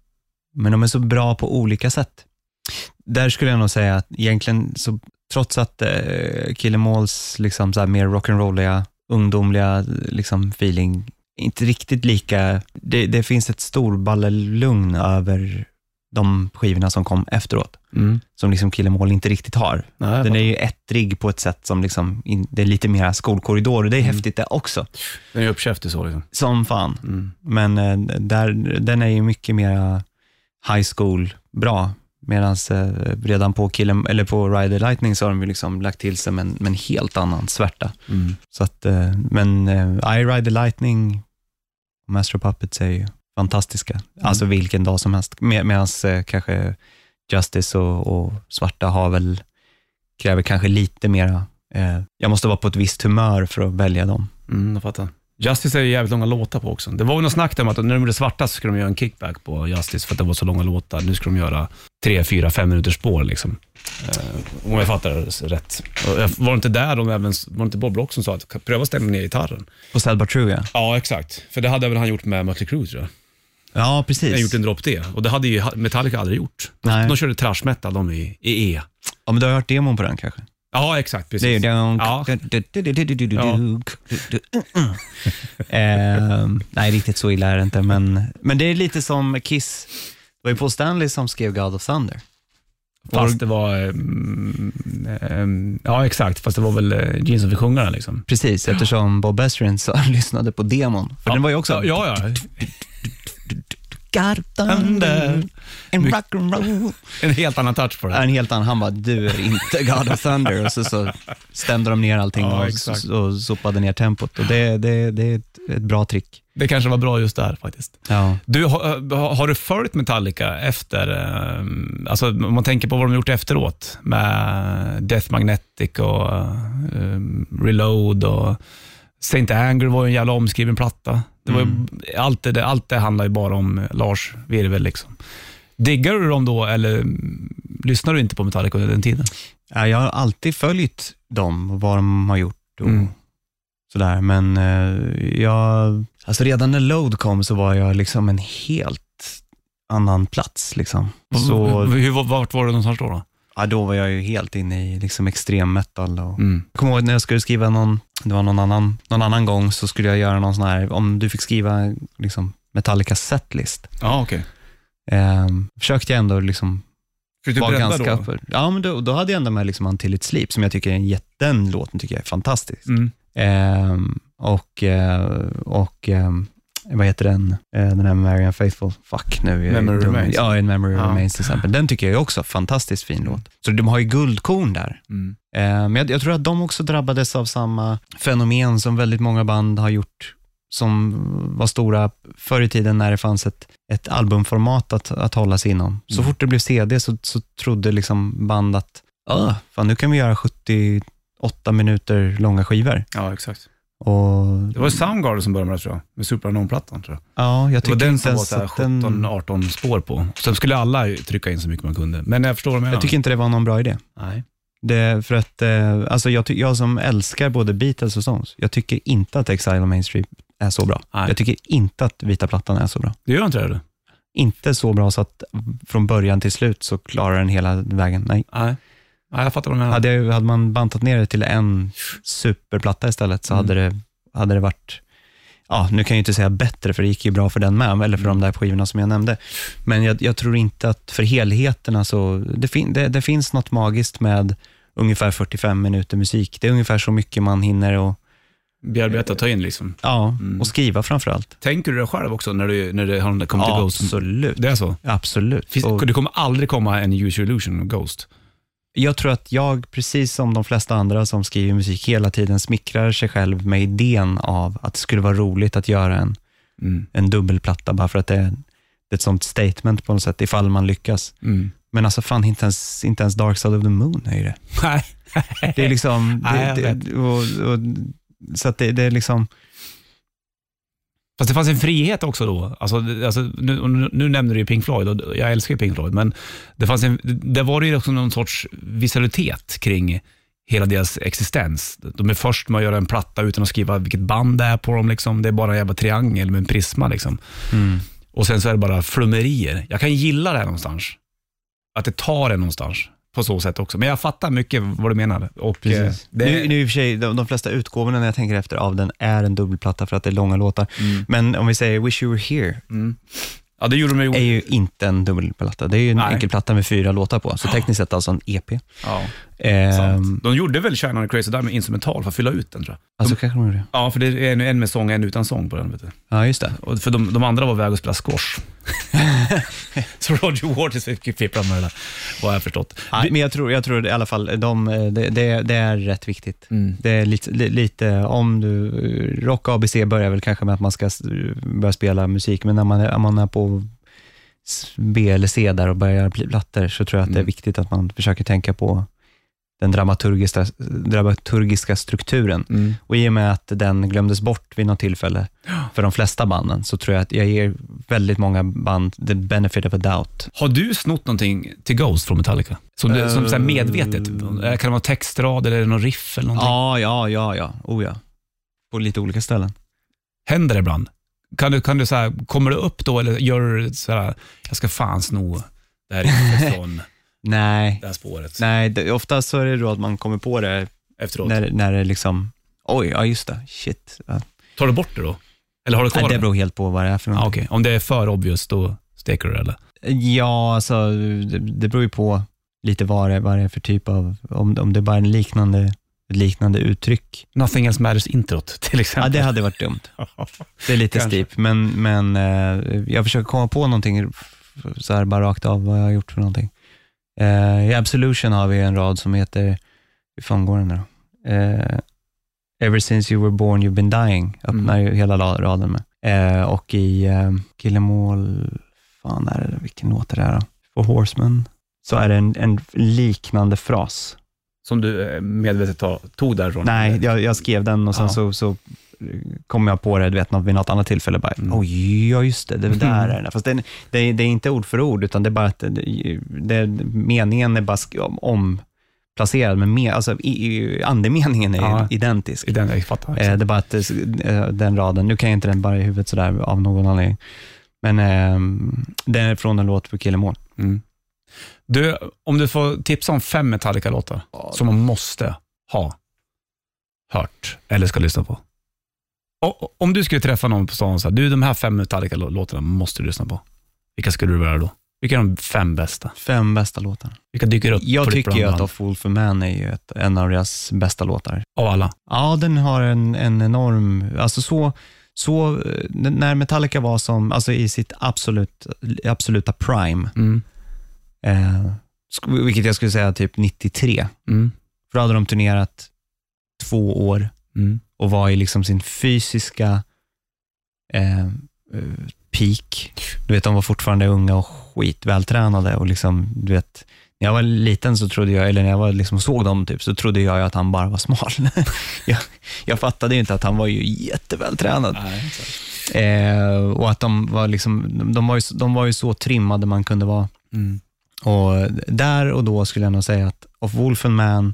Speaker 2: men de är så bra på olika sätt. Där skulle jag nog säga att egentligen, så, trots att uh, Kill 'Em Alls liksom så här mer rock'n'rolliga, ungdomliga liksom feeling, inte riktigt lika, det, det finns ett storballelugn över de skivorna som kom efteråt,
Speaker 3: Mm.
Speaker 2: som liksom Kill 'Em All inte riktigt har.
Speaker 3: Nej,
Speaker 2: Den är ju ettrig på ett sätt som liksom, in, det är lite mer skolkorridor och det är
Speaker 3: Mm.
Speaker 2: häftigt det också.
Speaker 3: den är uppkäftig så. Liksom.
Speaker 2: Som fan. Men eh, där, den är ju mycket mer high school bra. Medan eh, redan på, killen, eller på Rider Lightning så har de ju liksom lagt till sig med en, med en helt annan svärta.
Speaker 3: Mm.
Speaker 2: Så att, eh, men eh, I Rider Lightning och Master of Puppets är ju fantastiska. Alltså vilken dag som helst. Med, Medan eh, kanske Justice och, och Svarta har väl, kräver kanske lite mera, eh, jag måste vara på ett visst humör för att välja dem.
Speaker 3: Mm, jag fattar. Justice är ju jävligt långa låtar på också. Det var ju något snack där om att när de gjorde Svarta så skulle de göra en kickback på Justice för att det var så långa låtar. Nu skulle de göra tre, fyra, fem minuters spår liksom. Eh, om jag fattar det rätt. Och jag- Var det inte där de även, var det inte Bob Rock som sa att pröva stämma ner gitarren?
Speaker 2: På Sad But True ja.
Speaker 3: Ja, exakt. För det hade väl han gjort med Mötley Crüe tror jag.
Speaker 2: Ja, precis.
Speaker 3: Han gjort en drop D och det hade ju Metallica aldrig gjort.
Speaker 2: Nej.
Speaker 3: De körde trash metal de i, i E.
Speaker 2: Ja, men du har hört demon på den kanske?
Speaker 3: Ja, exakt. Precis.
Speaker 2: Det är ju
Speaker 3: Ja.
Speaker 2: Eh, Nej, riktigt så illa är det inte, men, men det är lite som Kiss. Det var ju Paul Stanley som skrev God of Thunder.
Speaker 3: Fast det var... ehm, ehm, ja, exakt. Fast det var väl eh, Gene som fick sjunga den liksom.
Speaker 2: Precis, eftersom Bob Ezrin så lyssnade på demon. För den var ju också
Speaker 3: Ja, ja.
Speaker 2: God of Thunder and rock'n'roll.
Speaker 3: En helt annan touch på det.
Speaker 2: En helt annan, han bara, du är inte God of Thunder. Och så, så stämde de ner allting
Speaker 3: Ja,
Speaker 2: och,
Speaker 3: exakt.
Speaker 2: s- och sopade ner tempot. Och det, det, det är ett, ett bra trick.
Speaker 3: Det kanske var bra just där faktiskt.
Speaker 2: Ja.
Speaker 3: Du, har, har- har du följt Metallica efter, ehm, alltså om man tänker på vad de gjort efteråt med Death Magnetic och ehm, Reload och Saint Anger var ju en jävla omskriven platta. Det var ju,
Speaker 2: Mm.
Speaker 3: allt, det, allt det handlar ju bara om Lars virvel liksom. Diggar du dem då eller mm, lyssnar du inte på Metallica under den tiden?
Speaker 2: Ja, jag har alltid följt dem och vad de har gjort och
Speaker 3: Mm.
Speaker 2: sådär. Men eh, jag, alltså redan när Load kom så var jag liksom en helt annan plats. Liksom. Så
Speaker 3: Hur, hur- vart var du någonstans då? då?
Speaker 2: ja, då var jag ju helt inne i liksom extrem metal. Och, jag kommer ihåg när jag skulle skriva någon, det var någon annan, någon annan gång så skulle jag göra någon sån här, om du fick skriva liksom Metallica setlist.
Speaker 3: Ja, okej.
Speaker 2: Eh, försökte jag ändå liksom
Speaker 3: Fick du
Speaker 2: var
Speaker 3: bredda
Speaker 2: ganska
Speaker 3: då?
Speaker 2: för, Ja, men då, då hade jag ändå med liksom Until It Sleep, som jag tycker är en jätte, den låten tycker jag är fantastisk.
Speaker 3: Mm.
Speaker 2: Ehm, och, eh, och ehm, vad heter den, Eh, den här Marian Faithful, fuck nu. är jag
Speaker 3: Memory
Speaker 2: dum.
Speaker 3: Remains.
Speaker 2: Ja, en Memory
Speaker 3: Ja.
Speaker 2: Remains till exempel. Den tycker jag är också fantastiskt fin låt. Så de har ju guldkorn där.
Speaker 3: Mm.
Speaker 2: Eh, Men jag, jag tror att de också drabbades av samma fenomen som väldigt många band har gjort som var stora förr i tiden när det fanns ett, ett albumformat att, att hålla sig inom. Så
Speaker 3: Mm.
Speaker 2: fort det blev CD så, så trodde liksom band att "Åh, fan, nu kan vi göra 78 minuter långa skivor.
Speaker 3: Ja, exakt.
Speaker 2: Och,
Speaker 3: Det var Soundgarden som började med det tror jag, med Superanon-plattan tror jag.
Speaker 2: ja, jag
Speaker 3: Det var
Speaker 2: tycker
Speaker 3: den
Speaker 2: inte
Speaker 3: som var
Speaker 2: ens
Speaker 3: så här
Speaker 2: att den,
Speaker 3: 17-18 spår på. Sen skulle alla ju trycka in så mycket man kunde. Men jag förstår vad du menar.
Speaker 2: jag tycker inte det var någon bra idé.
Speaker 3: Nej.
Speaker 2: Det, för att, eh, alltså jag, ty- jag som älskar både Beatles och Stones, jag tycker inte att Exile on Main Street är så bra.
Speaker 3: Nej.
Speaker 2: Jag tycker inte att Vita Plattan är så bra.
Speaker 3: Du gör inte det du?
Speaker 2: Inte så bra så att från början till slut så klarar den hela vägen. Nej.
Speaker 3: Nej. Ja, jag fattar vad du menar.
Speaker 2: Hade, jag, hade man bantat ner det till en superplatta istället så
Speaker 3: Mm.
Speaker 2: hade, det, hade det varit, ja, nu kan jag ju inte säga bättre, för det gick ju bra för den med, eller för de där skivorna som jag nämnde. Men jag, jag tror inte att för helheten, så det, fin, det, det finns något magiskt med ungefär 45 minuter musik. Det är ungefär så mycket man hinner och,
Speaker 3: Bearbeta och ta in liksom.
Speaker 2: ja,
Speaker 3: Mm.
Speaker 2: och skriva framförallt.
Speaker 3: Tänker du det själv också när du, när det har den där Come to Ghost?
Speaker 2: Absolut.
Speaker 3: Det är så?
Speaker 2: Absolut.
Speaker 3: Finns,
Speaker 2: Och-
Speaker 3: Det kommer aldrig komma en Use Your Illusion Ghost.
Speaker 2: Jag tror att jag, precis som de flesta andra som skriver musik hela tiden, smickrar sig själv med idén av att det skulle vara roligt att göra en,
Speaker 3: Mm.
Speaker 2: en dubbelplatta bara för att det är, det är ett sånt statement på något sätt, ifall man lyckas.
Speaker 3: Mm.
Speaker 2: Men alltså fan, inte ens, inte ens Dark Side of the Moon är ju det.
Speaker 3: Nej.
Speaker 2: Det är liksom...
Speaker 3: Nej,
Speaker 2: Det,
Speaker 3: jag
Speaker 2: det, och, och, så att det, det är liksom...
Speaker 3: Fast det fanns en frihet också då. Alltså, det- alltså, nu, och nu, nu nämner du ju Pink Floyd och jag älskar ju Pink Floyd, men det fanns en, där var det ju också någon sorts visualitet kring hela deras existens. De är först med att göra en platta utan att skriva vilket band det är på dem. Liksom. Det är bara en jävla triangel med en prisma. Liksom.
Speaker 2: eh,
Speaker 3: Och sen så är det bara flummerier. Jag kan gilla det här någonstans. Att det tar det någonstans på så sätt också. Men jag fattar mycket vad du menar. Och, eh, det,
Speaker 2: Nu, nu i och för sig, de, de flesta utgåvorna när jag tänker efter av den är en dubbelplatta för att det är långa låtar.
Speaker 3: Mm.
Speaker 2: Men om vi säger Wish You Were Here,
Speaker 3: Ja, det gjorde de
Speaker 2: är
Speaker 3: ju.
Speaker 2: ju inte en dubbelplatta. Det är ju en
Speaker 3: Nej.
Speaker 2: enkelplatta med fyra låtar på, så tekniskt sett alltså en EP.
Speaker 3: Ja,
Speaker 2: Ehm,
Speaker 3: sant. de gjorde väl China and Crazy Diamond instrumental för att fylla ut den tror jag.
Speaker 2: alltså kanske de gjorde det.
Speaker 3: Ja, för det är en, en med sång och en utan sång på den. Vet du.
Speaker 2: Ja, just det.
Speaker 3: Och för de, de andra var väg att spela squash. så Roger Waters fick fippla med det där, vad jag har förstått.
Speaker 2: Nej, men jag tror, jag tror i alla fall, de, eh, det, det, det är rätt viktigt.
Speaker 3: Mm.
Speaker 2: Det är lite, li- lite, om du, eh, rock ABC börjar väl kanske med att man ska s- börja spela musik, men när man är, om man är på s- B eller C där och börjar göra pl- plattor så tror jag att det är
Speaker 3: Mm.
Speaker 2: viktigt att man försöker tänka på den dramaturgiska, dramaturgiska strukturen.
Speaker 3: Mm.
Speaker 2: Och i och med att den glömdes bort vid något tillfälle för de flesta banden, så tror jag att jag ger väldigt många band the benefit of a doubt.
Speaker 3: Har du snott någonting till Ghost från Metallica? Som, du, som så här
Speaker 2: Eh.
Speaker 3: medvetet? Kan det vara textrad eller är det någon riff eller någonting?
Speaker 2: Ja, ja, ja, ja. Oh, ja. På lite olika ställen.
Speaker 3: Händer det ibland? Kan du, kan du så här, kommer det upp då eller gör du så här, jag ska fan sno det här riffet från
Speaker 2: Nej,
Speaker 3: det här spåret
Speaker 2: nej det, oftast så är det då att man kommer på det
Speaker 3: efteråt?
Speaker 2: när, när det liksom, oj, ja just det, shit. Ja.
Speaker 3: Tar du bort det då? Eller har du kvar
Speaker 2: Nej, det beror helt på vad det är för
Speaker 3: Ah,
Speaker 2: någonting.
Speaker 3: okej. Om det är för obvious, då steker du det eller?
Speaker 2: Ja, alltså det, det beror ju på lite vad det, vad det är för typ av, om, om det bara är en liknande, ett liknande uttryck.
Speaker 3: Nothing else matters introt till
Speaker 2: Ja,
Speaker 3: exempel.
Speaker 2: det hade varit dumt. Det är lite
Speaker 3: Kanske.
Speaker 2: steep, men, men eh, jag försöker komma på någonting f- så här bara rakt av vad jag har gjort för någonting. Eh, I Absolution har vi en rad som heter, hur fan går den nu då? Eh, Ever since you were born you've been dying, öppnar
Speaker 3: Mm.
Speaker 2: ju hela la- raden med. Eh, och i uh, Killemall, fan är det, vilken låt är det här då? For Horseman, så är det en, en liknande fras.
Speaker 3: Som du eh, medvetet ta- tog därifrån?
Speaker 2: Nej, jag, jag skrev den och sen
Speaker 3: Ja.
Speaker 2: så, så kom jag på det du vet, något- vid något annat tillfälle. Bara,
Speaker 3: Mm.
Speaker 2: Oj, ja just det, det
Speaker 3: Mm.
Speaker 2: där är den. Fast den, det, är- det är inte ord för ord, utan det är bara att det, det, meningen är bara sk- om- omplacerad, men me, alltså, i, i, andemeningen är
Speaker 3: Ja.
Speaker 2: identisk.
Speaker 3: I den, jag fattar.
Speaker 2: Eh, det är bara att eh, den raden, nu kan jag inte den bara i huvudet sådär av någon anledning, men eh, den är från en låt på Killemål.
Speaker 3: Mm. Du, om du får tipsa om fem Metallica-låtar som man måste ha hört eller ska lyssna på. O- Om du skulle träffa någon på stan och säga, du de här fem Metallica-låtarna måste du lyssna på. Vilka skulle du välja då? Vilka är de fem bästa?
Speaker 2: Fem bästa låtarna.
Speaker 3: Vilka dyker upp på
Speaker 2: Jag
Speaker 3: ditt
Speaker 2: tycker ju
Speaker 3: blandband?
Speaker 2: att A Fool for Man är ju ett, en av deras bästa låtar.
Speaker 3: Av alla?
Speaker 2: Ja, den har en, en enorm, alltså så, så, eh, n- när Metallica var som, alltså i sitt absolut, absoluta prime,
Speaker 3: Mm.
Speaker 2: eh, sk- vilket jag skulle säga typ 93,
Speaker 3: Mm.
Speaker 2: för då hade de turnerat två år
Speaker 3: Mm.
Speaker 2: och var i liksom sin fysiska eh, eh, peak. Du vet, de var fortfarande unga och skitvältränade och liksom, du vet, när jag var liten så trodde jag, eller när jag var liksom och såg dem typ, så trodde jag ju att han bara var smal. jag, jag fattade ju inte att han var ju jättevältränad.
Speaker 3: Nej, inte.
Speaker 2: Eh, och att de var liksom, de- de var, ju, så- de var ju så trimmade man kunde vara.
Speaker 3: Mm.
Speaker 2: Och där och då skulle jag nog säga att Of Wolfen Man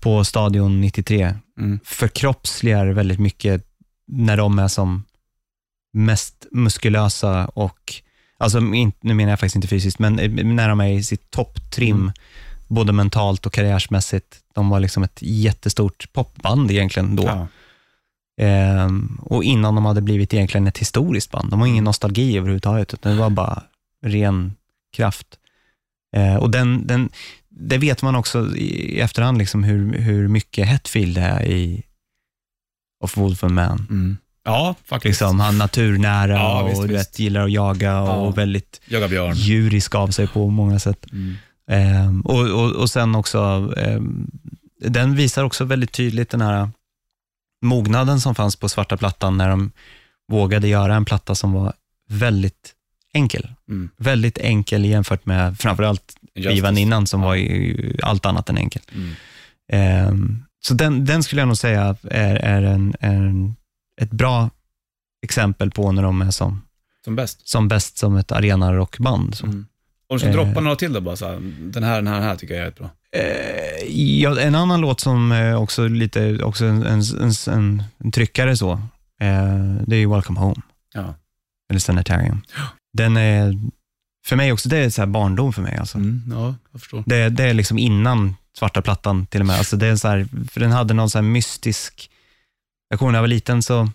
Speaker 2: på Stadion 93
Speaker 3: Mm.
Speaker 2: förkroppsligar väldigt mycket när de är som mest muskulösa och, alltså in, nu menar jag faktiskt inte fysiskt, men eh, när de är i sitt topptrim
Speaker 3: Mm.
Speaker 2: både mentalt och karriärsmässigt. De var liksom ett jättestort popband egentligen då.
Speaker 3: Ja.
Speaker 2: Ehm, och innan de hade blivit egentligen ett historiskt band. De har ingen nostalgi överhuvudtaget, utan det var bara ren kraft. Eh, och den, den, det vet man också i i efterhand, liksom hur, hur mycket Hetfield är i Of Wolf and Man.
Speaker 3: Mm. ja, faktiskt.
Speaker 2: Liksom, han naturnära
Speaker 3: Ja,
Speaker 2: och
Speaker 3: visst,
Speaker 2: du
Speaker 3: visst.
Speaker 2: Vet, gillar att jaga och
Speaker 3: Ja.
Speaker 2: väldigt
Speaker 3: Jaga björn.
Speaker 2: djurisk av sig på många sätt.
Speaker 3: Mm.
Speaker 2: Ehm, och, och, och sen också, ehm, den visar också väldigt tydligt den här mognaden som fanns på svarta plattan när de vågade göra en platta som var väldigt enkel.
Speaker 3: Mm.
Speaker 2: Väldigt enkel jämfört med framförallt skivan innan som var ju allt annat än enkel.
Speaker 3: Mm.
Speaker 2: Ehm, så den, den skulle jag nog säga är, är, en, är en, ett bra exempel på när de är som,
Speaker 3: Som bäst.
Speaker 2: som bäst som ett arenarockband. Så.
Speaker 3: Mm. Om du ska
Speaker 2: Eh.
Speaker 3: droppa några till då bara, så här, den här, den här, den här tycker jag är bra.
Speaker 2: Eh, ja, en annan låt som eh, också lite, också en, en, en, en, en tryckare så, eh, det är ju Welcome Home,
Speaker 3: Ja.
Speaker 2: eller Sanitarium. Den är, för mig också, det är så här barndom för mig alltså.
Speaker 3: Mm, ja, jag förstår.
Speaker 2: Det, det är liksom innan svarta plattan till och med. Alltså det är så här, för den hade någon så här mystisk, jag kommer ihåg när jag var liten så,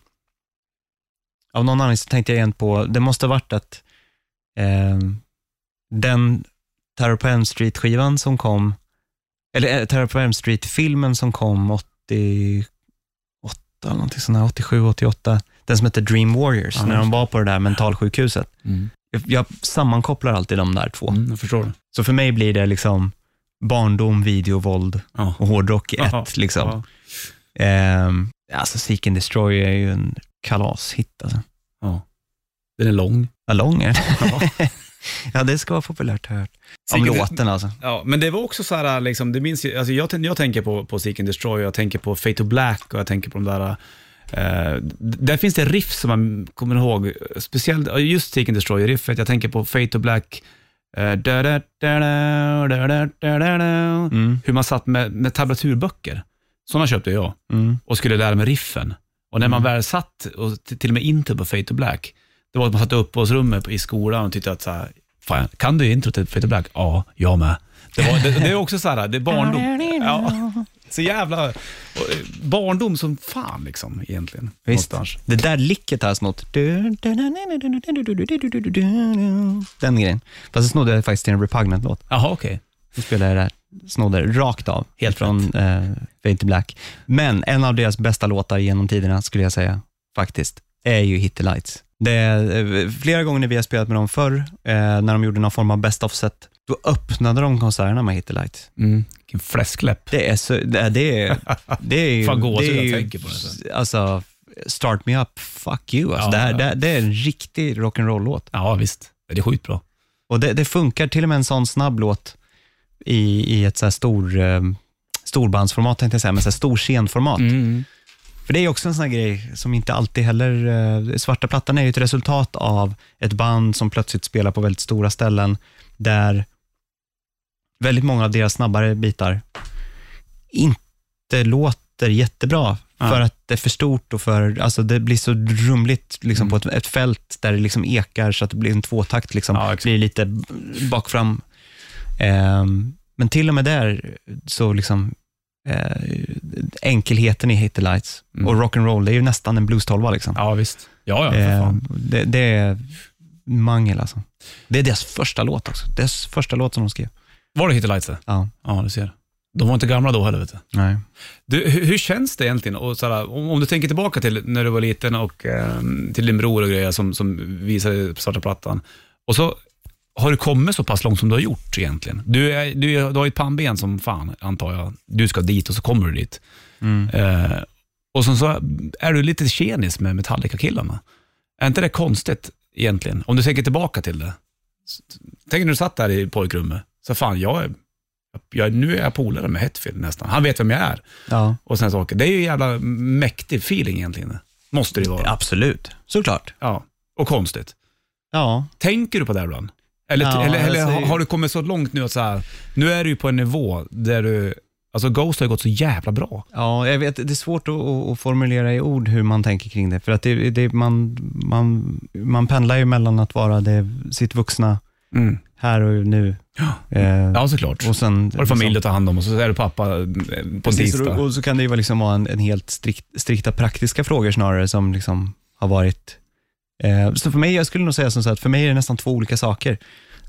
Speaker 2: av någon anledning så tänkte jag igen på, det måste ha varit att eh, den Terror på Elm Street-skivan som kom, eller eh, Terror på Elm Street-filmen som kom 88, eller någonting sånt här, 87, 88, den som hette Dream Warriors,
Speaker 3: Ja,
Speaker 2: när de
Speaker 3: just
Speaker 2: var på det där mentalsjukhuset.
Speaker 3: Mm.
Speaker 2: Jag, jag sammankopplar alltid de där två.
Speaker 3: Mm, jag förstår. det.
Speaker 2: Så för mig blir det liksom barndom, video, våld
Speaker 3: Ja.
Speaker 2: och hårdrock i
Speaker 3: Jaha,
Speaker 2: ett. Liksom.
Speaker 3: Ja.
Speaker 2: Ehm, alltså Seek and Destroy är ju en kalashit. Alltså.
Speaker 3: Den är lång.
Speaker 2: Vad lång är den?
Speaker 3: Ja.
Speaker 2: Ja, det ska vara populärt har jag hört. Om
Speaker 3: Seek and-
Speaker 2: låten alltså.
Speaker 3: Ja, men det var också så här, liksom, det minns ju, alltså jag, tän- jag tänker på, på Seek and Destroy, jag tänker på Fate to Black och jag tänker på de där, eh, d- där finns det riff som man kommer ihåg, speciellt ja, just Seek and Destroy-riffet, jag tänker på Fate to Black, eh, da, da, da, da, da, da, da, da, da.
Speaker 2: Mm,
Speaker 3: hur man satt med, med tablaturböcker. Sådana köpte jag
Speaker 2: mm,
Speaker 3: och skulle lära mig riffen. Och när man
Speaker 2: Mm.
Speaker 3: väl satt, och t- till och med inte på Fate to Black, det var att man satt i uppehållsrummet i skolan och tyckte att så här, Fan, kan du intro till Fate to Black? Ja, jag med. Det, var, det, det är också så här, det är barndom. Ja, så jävla och, eh, barndom som fan liksom egentligen.
Speaker 2: visst.
Speaker 3: någonstans.
Speaker 2: Det där licket har jag snott. Den grejen. Fast det snodde jag faktiskt till en Repugnant-låt.
Speaker 3: Jaha, okej.
Speaker 2: Då spelade jag det där, snodde det rakt av.
Speaker 3: Helt
Speaker 2: från eh, Fade to Black. Men en av deras bästa låtar genom tiderna skulle jag säga, faktiskt, är ju Hit the Lights. Det är, eh, flera gånger när vi har spelat med dem förr, eh, när de gjorde någon form av best offset, då öppnade de konserterna med Hit the Lights.
Speaker 3: Mm. Vilken fläskläpp.
Speaker 2: Det är så, det, det är, det är ju...
Speaker 3: Fan, gåshud
Speaker 2: det är
Speaker 3: jag
Speaker 2: ju-
Speaker 3: tänker på det sen.
Speaker 2: Alltså, Start Me Up, Fuck You. Alltså,
Speaker 3: Ja,
Speaker 2: det, här,
Speaker 3: ja.
Speaker 2: det, här- det är en riktig rock'n'roll-låt.
Speaker 3: Ja, visst. Det är skitbra.
Speaker 2: Och det, det funkar till och med en sån snabb låt i, i ett så här stor, eh, storbandsformat, tänkte jag säga, men så här stor scenformat.
Speaker 3: Mm.
Speaker 2: För det är också en sån här grej som inte alltid heller... Eh, svarta plattan är ju ett resultat av ett band som plötsligt spelar på väldigt stora ställen där väldigt många av deras snabbare bitar inte låter jättebra.
Speaker 3: Ja.
Speaker 2: För att det är för stort och för, alltså det blir så rumligt liksom
Speaker 3: Mm.
Speaker 2: på ett, ett fält där det liksom ekar så att det blir en tvåtakt. Liksom.
Speaker 3: Ja,
Speaker 2: Det
Speaker 3: exakt.
Speaker 2: blir lite bak fram. Ehm, men till och med där så liksom eh, enkelheten i Hate the Lights
Speaker 3: Mm.
Speaker 2: och rock'n'roll, det är ju nästan en blues-tolva. Liksom.
Speaker 3: Ja, Eh. visst. Ja, ja, för
Speaker 2: Ehm,
Speaker 3: fan.
Speaker 2: det, det är mangel alltså. Det är deras första låt också. Deras första låt som de skrev.
Speaker 3: Var det Hit the Lights? det?
Speaker 2: Ja.
Speaker 3: Ja, du ser. De var inte gamla då heller, vet du.
Speaker 2: Nej.
Speaker 3: Du, hur, hur känns det egentligen? Och så här, om, om du tänker tillbaka till när du var liten och eh, till din bror och grejer som, som visade på svarta plattan. Och så har du kommit så pass långt som du har gjort egentligen. Du, är, du, är- du har ju ett pannben som fan, antar jag. Du ska dit och så kommer du dit.
Speaker 2: Mm.
Speaker 3: Eh, och sen så är du lite tjenis med Metallica-killarna. Är inte det konstigt egentligen? Om du tänker tillbaka till det. S- Tänk när du satt där i pojkrummet. Så fan, jag är, jag, nu är jag polare med Hetfield nästan. Han vet vem jag är
Speaker 2: Ja.
Speaker 3: och sen saker. Det är ju en jävla mäktig feeling egentligen. Måste det ju vara. Ja.
Speaker 2: Absolut, såklart.
Speaker 3: Och konstigt.
Speaker 2: Ja,
Speaker 3: Tänker du på det ibland? Eller,
Speaker 2: Ja,
Speaker 3: eller, eller
Speaker 2: alltså-
Speaker 3: har- har du kommit så långt nu att så här, nu är du ju på en nivå där du, alltså Ghost har ju gått så jävla bra.
Speaker 2: Ja, jag vet, det är svårt att, att, att formulera i ord hur man tänker kring det. För att det, det, man, man, man pendlar ju mellan att vara det, sitt vuxna här och nu. Eh,
Speaker 3: Ja, såklart.
Speaker 2: Mm. och sen, liksom-
Speaker 3: Har du familj att ta hand om och så är du pappa eh, på en
Speaker 2: Precis,
Speaker 3: tisdag.
Speaker 2: och, och så kan det ju vara liksom vara en, en helt strikt, strikta praktiska frågor snarare som liksom har varit... Eh, så för mig, jag skulle nog säga som så att för mig är det nästan två olika saker.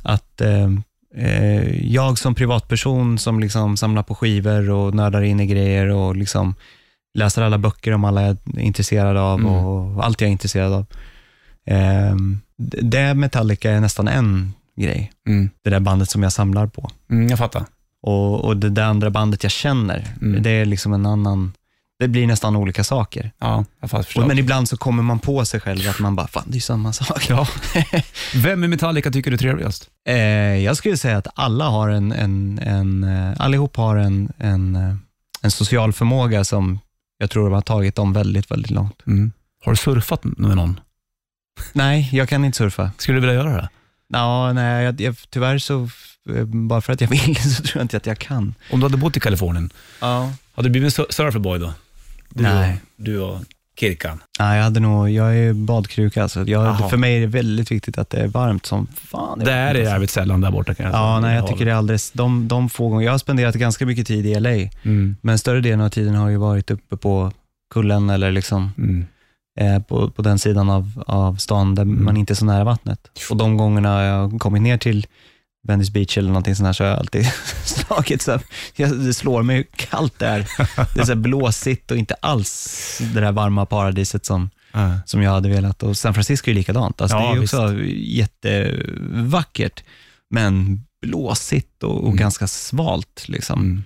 Speaker 2: Att eh, eh, jag som privatperson som liksom samlar på skivor och nördar in i grejer och liksom läser alla böcker om alla jag är intresserad av
Speaker 3: Mm.
Speaker 2: och allt jag är intresserad av. Eh, d- det Metallica är nästan en grej.
Speaker 3: Mm.
Speaker 2: Det där bandet som jag samlar på.
Speaker 3: Mm, jag fattar.
Speaker 2: Och, och det där andra bandet jag känner,
Speaker 3: Mm.
Speaker 2: det är liksom en annan, det blir nästan olika saker.
Speaker 3: Ja, jag fattar
Speaker 2: Och,
Speaker 3: förstås.
Speaker 2: men ibland så kommer man på sig själv att man bara, fan det är ju samma sak. Ja.
Speaker 3: Vem i Metallica tycker du är trevligast?
Speaker 2: eh, jag skulle säga att alla har en, en, en eh, allihop har en, en, eh, en social förmåga som jag tror de har tagit dem väldigt, väldigt långt.
Speaker 3: Har du surfat med någon?
Speaker 2: Nej, jag kan inte surfa.
Speaker 3: Skulle du vilja göra det?
Speaker 2: Ja, nej, jag, jag, tyvärr så, eh, bara för att jag vill så tror jag inte att jag kan.
Speaker 3: Om du hade bott i Kalifornien,
Speaker 2: Ja.
Speaker 3: hade du blivit en sur- surferboy då? Du
Speaker 2: Nej.
Speaker 3: Och, du och Kirkan.
Speaker 2: Nej, jag hade nog, jag är badkruka alltså.
Speaker 3: Jaha.
Speaker 2: Jag, för mig är det väldigt viktigt att det är varmt som fan.
Speaker 3: Det är
Speaker 2: varmt,
Speaker 3: jävligt Alltså. sällan där borta kan jag säga.
Speaker 2: Ja, nej, jag tycker det är alldeles, de, de få gånger, jag har spenderat ganska mycket tid i LA,
Speaker 3: Mm.
Speaker 2: men större delen av tiden har ju varit uppe på kullen eller liksom
Speaker 3: Mm.
Speaker 2: eh, på, på den sidan av, av stan där
Speaker 3: Mm.
Speaker 2: man inte är så nära vattnet. Och de gångerna jag har kommit ner till Venice Beach eller någonting sånt här så har jag alltid slagit så här, jag, det slår mig hur kallt det är. Det är så här blåsigt och inte alls det där varma paradiset som
Speaker 3: Ja.
Speaker 2: som jag hade velat. Och San Francisco är likadant. Alltså,
Speaker 3: Ja,
Speaker 2: det är ju också jättevackert, men blåsigt och, och
Speaker 3: Mm.
Speaker 2: ganska svalt. Liksom.
Speaker 3: Mm.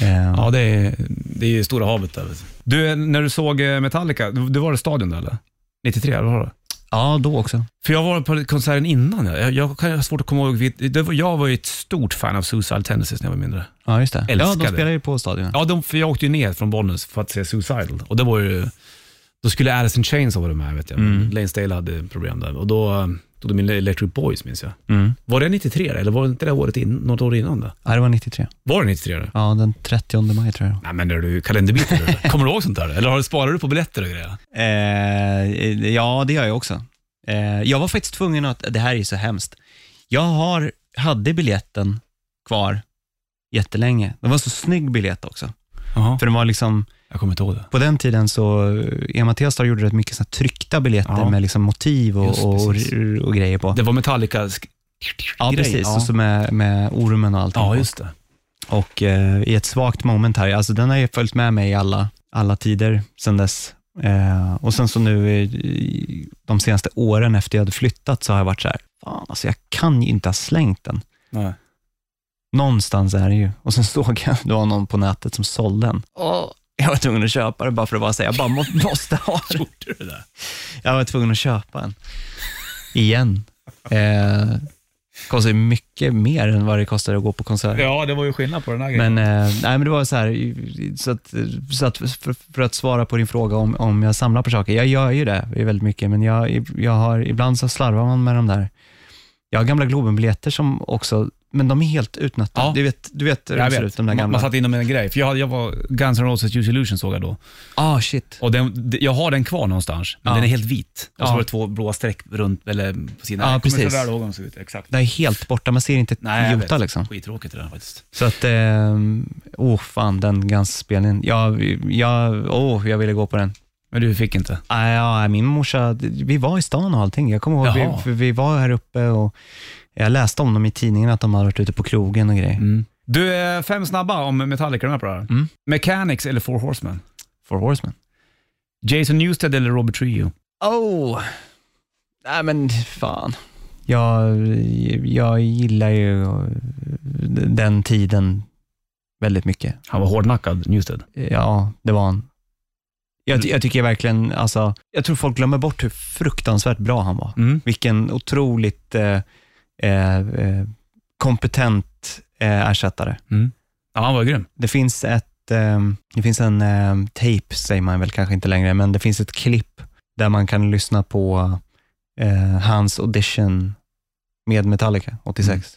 Speaker 2: Eh,
Speaker 3: Ja, det är, det är ju stora havet där. liksom. vet Du, Du, när du såg eh, Metallica, du, du var i stadion där eller? 93, eller vad var det?
Speaker 2: ja, då också.
Speaker 3: För jag var på konserten innan. Jag, jag, kan- jag har svårt att komma ihåg. vilket- det var- Jag var ju ett stort fan av Suicide Tendencies när jag var mindre.
Speaker 2: Ja, just det. Ja, de
Speaker 3: Älskade.
Speaker 2: spelar ju på stadion.
Speaker 3: Ja, de, för jag åkte ju ner från Bollnäs för att se Suicidal. Och det var ju, då skulle Alice in Chains ha varit med, vet jag.
Speaker 2: Mm.
Speaker 3: Lane Stale hade problem där. Och då tog de in Electric Boys, minns jag.
Speaker 2: Mm.
Speaker 3: Var det 93 eller var det inte det året in, något år innan det?
Speaker 2: Ja, det var 93.
Speaker 3: Var det 93 då?
Speaker 2: Ja, den 30 maj tror jag.
Speaker 3: Nej men är du kalenderbiten eller? Kommer du ihåg sånt där? Eller har du, sparar du på biljetter och grejer?
Speaker 2: Eh, ja, det gör jag också. Eh, jag var faktiskt tvungen att, det här är ju så hemskt. Jag har, hade biljetten kvar jättelänge. Det var en så snygg biljett också.
Speaker 3: Jaha.
Speaker 2: För den var liksom,
Speaker 3: Jag kommer inte ihåg det.
Speaker 2: På den tiden så, eh, Ema Telstar gjorde rätt mycket såna tryckta biljetter
Speaker 3: Ja.
Speaker 2: med liksom motiv och,
Speaker 3: Just
Speaker 2: och,
Speaker 3: precis.
Speaker 2: och grejer på.
Speaker 3: Det var Metallica
Speaker 2: ja,
Speaker 3: grej,
Speaker 2: precis.
Speaker 3: ja.
Speaker 2: Och så med, med ormen och allting.
Speaker 3: Ja,
Speaker 2: på.
Speaker 3: just det.
Speaker 2: Och eh, i ett svagt moment här, alltså den har ju följt med mig i alla, alla tider sedan dess. Eh, och sen så nu i- i de senaste åren efter jag hade flyttat så har jag varit så här, fan alltså jag kan ju inte ha slängt den.
Speaker 3: Nej.
Speaker 2: Någonstans är det ju. Och sen såg jag, det var någon på nätet som sålde den. Och jag var tvungen att köpa det bara för att bara säga, jag bara må, måste ha den.
Speaker 3: Gjorde du det där?
Speaker 2: Jag var tvungen att köpa en. Igen. Eh, kostar ju mycket mer än vad det kostar att gå på konsert.
Speaker 3: Ja, det var ju skillnad på den här
Speaker 2: Men, eh, nej, men det var så här, så att, så att för, för att svara på din fråga om, om jag samlar på saker. Jag gör ju det väldigt mycket, men jag, jag har, ibland så slarvar man med de där. Jag har gamla Globenbiljetter som också, men de är helt utnötta.
Speaker 3: Ja.
Speaker 2: Du vet, du vet hur
Speaker 3: Jag
Speaker 2: det ser ut,
Speaker 3: vet.
Speaker 2: de där
Speaker 3: Man,
Speaker 2: gamla.
Speaker 3: man
Speaker 2: Ah,
Speaker 3: satt inom en grej. För jag, hade- jag var Guns N' Roses Use Illusion såg jag då. ah,
Speaker 2: shit.
Speaker 3: Och den, de- jag har den kvar någonstans, men
Speaker 2: Ja.
Speaker 3: den är helt vit. Och så
Speaker 2: Ja.
Speaker 3: var det två blå streck runt, eller på sidan.
Speaker 2: Ja,
Speaker 3: jag kommer
Speaker 2: precis.
Speaker 3: så väl ihåg hur de såg ut. Exakt.
Speaker 2: Det är helt borta, man ser inte ett
Speaker 3: Nej, jag
Speaker 2: jota
Speaker 3: vet.
Speaker 2: liksom.
Speaker 3: Skittråkigt det där faktiskt.
Speaker 2: Så att, eh, oh fan, den Guns-spelningen. Jag, jag, oh, jag ville gå på den.
Speaker 3: Men du fick inte?
Speaker 2: Ah, ja, min morsa, vi var i stan och allting. Jag kommer ihåg,
Speaker 3: Jaha.
Speaker 2: vi, för vi var här uppe och jag läste om dem i tidningen att de hade varit ute på krogen och grejer.
Speaker 3: Du, eh, fem snabba om Metallica, är du med på det här?
Speaker 2: Mm.
Speaker 3: Mechanics eller Four Horsemen?
Speaker 2: Four Horsemen.
Speaker 3: Jason Newsted eller Robert Trio?
Speaker 2: Oh, nej men fan. Jag, jag gillar ju den tiden väldigt mycket.
Speaker 3: Han var hårdnackad, Newsted.
Speaker 2: Ja, det var han. Jag, ty- jag tycker verkligen, alltså, jag tror folk glömmer bort hur fruktansvärt bra han var.
Speaker 3: Mm.
Speaker 2: Vilken otroligt eh, eh, eh, kompetent eh, ersättare.
Speaker 3: Ja, han var grym.
Speaker 2: Det finns ett, ehm, det finns en ehm, tape, säger man väl kanske inte längre, men det finns ett klipp där man kan lyssna på eh, hans audition med Metallica 86.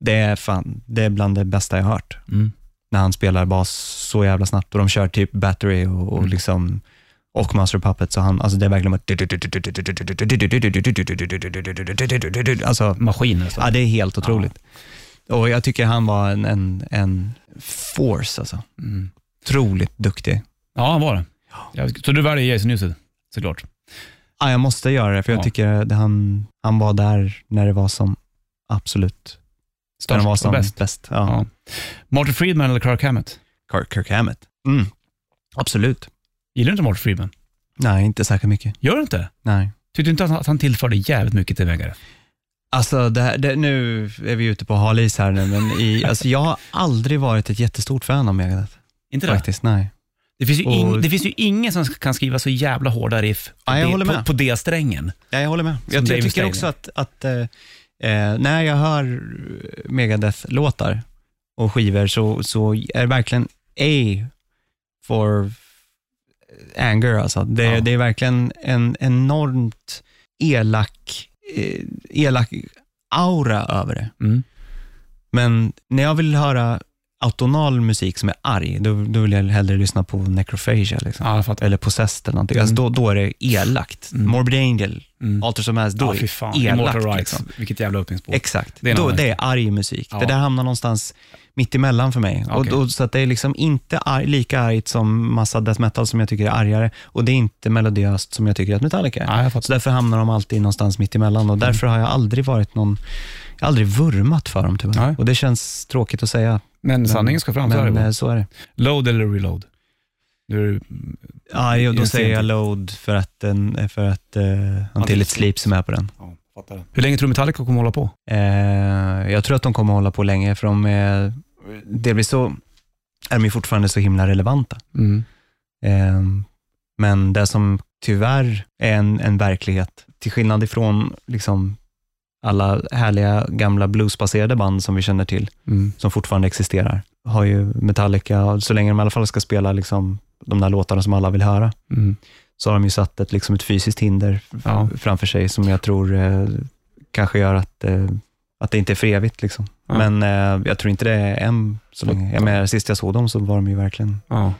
Speaker 2: Det är fan, det är bland det bästa jag hört när han spelar bas så jävla snabbt och de kör typ battery och, och
Speaker 3: Mm.
Speaker 2: liksom och Master of Puppets. Så han, alltså det är verkligen bara... Alltså,
Speaker 3: Maskiner och så.
Speaker 2: ja, det är helt otroligt. Och jag tycker han var en, en, en force, alltså.
Speaker 3: Mm.
Speaker 2: Otroligt duktig.
Speaker 3: Ja, han var det. Ja, Så du väljer Jason Newsted, såklart.
Speaker 2: Ja, jag måste göra det, för jag
Speaker 3: Ja.
Speaker 2: tycker att han, han var där när det var som absolut, när
Speaker 3: Störst
Speaker 2: det var
Speaker 3: och
Speaker 2: som
Speaker 3: bäst.
Speaker 2: bäst. Ja.
Speaker 3: Ja. Martin Friedman eller Kirk Hammett?
Speaker 2: Kirk, Kirk Hammett. Mm. Absolut.
Speaker 3: Gillar du inte Martin Friedman?
Speaker 2: Nej, inte särskilt mycket.
Speaker 3: Gör du inte?
Speaker 2: Nej.
Speaker 3: Tyckte du inte att han- att han tillförde jävligt mycket till VGRF?
Speaker 2: Alltså, det här, det, nu är vi ute på hal is här nu, men i, alltså, jag har aldrig varit ett jättestort fan av Megadeth.
Speaker 3: Inte det?
Speaker 2: Faktiskt, nej.
Speaker 3: Det finns, ju
Speaker 2: Och-
Speaker 3: ing, det finns ju ingen som kan skriva så jävla hårda riff på,
Speaker 2: Ja, jag
Speaker 3: det,
Speaker 2: håller
Speaker 3: på,
Speaker 2: med.
Speaker 3: på det strängen.
Speaker 2: Ja, jag håller med. Jag, jag
Speaker 3: David
Speaker 2: tycker
Speaker 3: Steiner.
Speaker 2: också att, att eh, eh, när jag hör Megadeth-låtar och skivor så, så är det verkligen A for anger. Alltså. Det,
Speaker 3: Ja.
Speaker 2: det är verkligen en enormt elak, eh, elak aura över det.
Speaker 3: Mm.
Speaker 2: Men när jag vill höra autonal musik som är arg, då, då vill jag hellre lyssna på necrophagia. Liksom.
Speaker 3: Ja, jag fattar.
Speaker 2: Eller Possessed eller någonting. Alltså då, då är det elakt.
Speaker 3: Mm.
Speaker 2: Morbid Angel,
Speaker 3: Mm.
Speaker 2: Alters of Mass, då
Speaker 3: Ja,
Speaker 2: är
Speaker 3: fy
Speaker 2: det
Speaker 3: fan. Immortal
Speaker 2: elakt.
Speaker 3: Rights.
Speaker 2: Liksom.
Speaker 3: Vilket jävla öppningsspår.
Speaker 2: Exakt.
Speaker 3: Det är
Speaker 2: Det är,
Speaker 3: en
Speaker 2: då,
Speaker 3: annan
Speaker 2: det är arg musik.
Speaker 3: Ja.
Speaker 2: Det där hamnar någonstans mitt emellan för mig. Och
Speaker 3: Okej.
Speaker 2: då, så att det är liksom inte arg, lika argt som massa death metal som jag tycker är argare och det är inte melodiöst som jag tycker att Metallica är.
Speaker 3: Ja, Mm. jag
Speaker 2: Så
Speaker 3: fattar.
Speaker 2: därför hamnar de alltid någonstans mitt emellan och därför har jag aldrig varit någon, jag har aldrig vurmat för dem tyvärr.
Speaker 3: Nej.
Speaker 2: Och det känns tråkigt att säga.
Speaker 3: Men sanningen ska fram. så är det
Speaker 2: Men
Speaker 3: bara.
Speaker 2: eh, så är det.
Speaker 3: Load eller reload? Nu är det
Speaker 2: Ja, jo, då
Speaker 3: Just
Speaker 2: säger
Speaker 3: det.
Speaker 2: jag Load för att, den, för att uh, Until
Speaker 3: Until
Speaker 2: It Sleeps som är på den.
Speaker 3: Ja, fattar det. Hur länge tror du Metallica kommer hålla på?
Speaker 2: Eh, jag tror att de kommer hålla på länge för de är, delvis så är de ju fortfarande så himla relevanta. Eh, men det som tyvärr är en, en verklighet, till skillnad ifrån liksom alla härliga gamla bluesbaserade band som vi känner till, som fortfarande existerar, har ju Metallica, så länge de i alla fall ska spela liksom, de där låtarna som alla vill höra, så har de ju satt ett, liksom, ett fysiskt hinder f-
Speaker 3: Ja.
Speaker 2: framför sig som jag tror eh, kanske gör att, eh, att det inte är för evigt. Liksom.
Speaker 3: Ja.
Speaker 2: Men eh, jag tror inte det är än så länge. Jag menar, sist jag såg dem så var de ju verkligen
Speaker 3: Ja.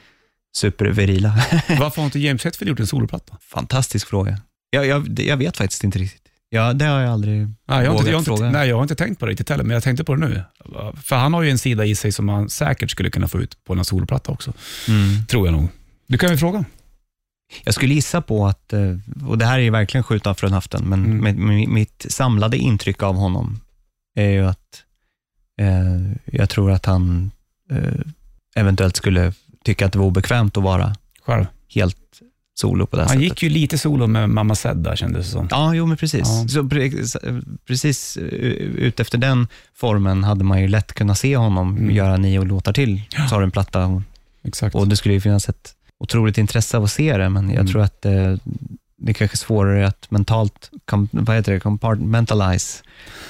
Speaker 2: supervirila.
Speaker 3: Varför har inte James Hetfield gjort en soloplatta?
Speaker 2: Fantastisk fråga. Jag, jag, det- jag vet faktiskt inte riktigt. Ja, det har jag aldrig...
Speaker 3: Nej jag, har inte, jag,
Speaker 2: Vågat
Speaker 3: har inte,
Speaker 2: fråga.
Speaker 3: nej, jag har inte tänkt på det riktigt heller, men jag tänkte på det nu. För han har ju en sida i sig som han säkert skulle kunna få ut på en soloplatta också, tror jag nog. Du kan väl fråga?
Speaker 2: Jag skulle gissa på att, eh, och det här är ju verkligen skjuta från höften, men
Speaker 3: Mm.
Speaker 2: med, med, mitt samlade intryck av honom är ju att eh, jag tror att han eh, eventuellt skulle tycka att det var obekvämt att vara
Speaker 3: Själv.
Speaker 2: helt solo på det här
Speaker 3: Han
Speaker 2: sättet.
Speaker 3: gick ju lite solo med Mamma Said där kändes det som.
Speaker 2: Ja, jo men precis.
Speaker 3: Ja.
Speaker 2: Så pre- s- precis eh, ut efter den formen hade man ju lätt kunnat se honom
Speaker 3: Mm.
Speaker 2: göra nio låtar till,
Speaker 3: Ja.
Speaker 2: så har du en platta och
Speaker 3: Exakt.
Speaker 2: Och det skulle ju finnas ett otroligt intresse av att se det, men jag
Speaker 3: Mm.
Speaker 2: tror att eh, det kanske är svårare att mentalt, kom, vad heter det, compartmentalize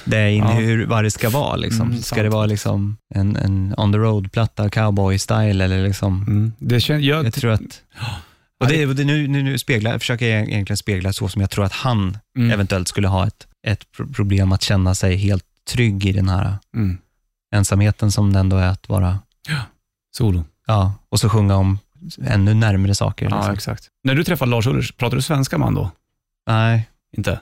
Speaker 2: det in
Speaker 3: Ja.
Speaker 2: i hur, vad det ska vara. Liksom.
Speaker 3: Mm,
Speaker 2: ska
Speaker 3: sant.
Speaker 2: det vara liksom en, en on the road-platta, cowboy-style eller liksom,
Speaker 3: mm. det känns, jag,
Speaker 2: jag tror att och det, och det nu, nu, nu speglar, försöker jag egentligen spegla så som jag tror att han
Speaker 3: mm.
Speaker 2: eventuellt skulle ha ett, ett pro- problem att känna sig helt trygg i den här
Speaker 3: Mm.
Speaker 2: ensamheten som det ändå är att vara,
Speaker 3: Solo.
Speaker 2: ja, och så sjunga om ännu närmre saker. liksom.
Speaker 3: exakt. När du träffade Lars Ulrich, pratade du svenska man då?
Speaker 2: Nej,
Speaker 3: Inte?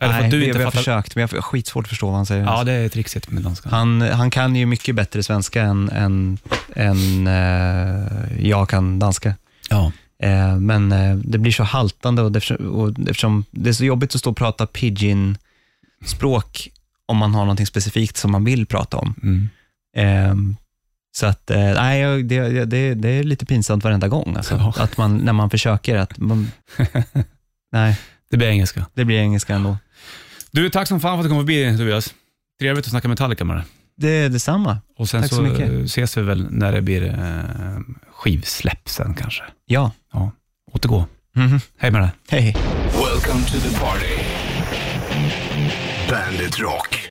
Speaker 3: Eller för
Speaker 2: Nej,
Speaker 3: att du
Speaker 2: jag,
Speaker 3: inte
Speaker 2: jag har
Speaker 3: fattar?
Speaker 2: försökt, men jag har skitsvårt att förstå vad han säger.
Speaker 3: Ja, det är trixigt med danska.
Speaker 2: Han, han kan ju mycket bättre svenska än, än, än eh, jag kan danska.
Speaker 3: Ja.
Speaker 2: Eh, men eh, det blir så haltande och, därför, och eftersom det är så jobbigt att stå och prata pidgin-språk om man har någonting specifikt som man vill prata om.
Speaker 3: Mm.
Speaker 2: Eh, så att, eh, nej, jag- det, det- det, det är lite pinsamt varenda gång. Alltså,
Speaker 3: Ja.
Speaker 2: att man, när man försöker att, man, nej,
Speaker 3: Det blir engelska.
Speaker 2: det blir engelska ändå.
Speaker 3: Du, tack som fan för att du kom förbi Tobias. Trevligt att snacka Metallica med dig.
Speaker 2: Det är detsamma.
Speaker 3: Och sen
Speaker 2: Tack så
Speaker 3: så,
Speaker 2: mycket.
Speaker 3: eh, ses vi väl när det blir eh, skivsläpp sen kanske.
Speaker 2: Ja.
Speaker 3: Återgå.
Speaker 2: Mhm.
Speaker 3: Hej med dig.
Speaker 2: Hej.
Speaker 1: Welcome to the party. Bandit Rock.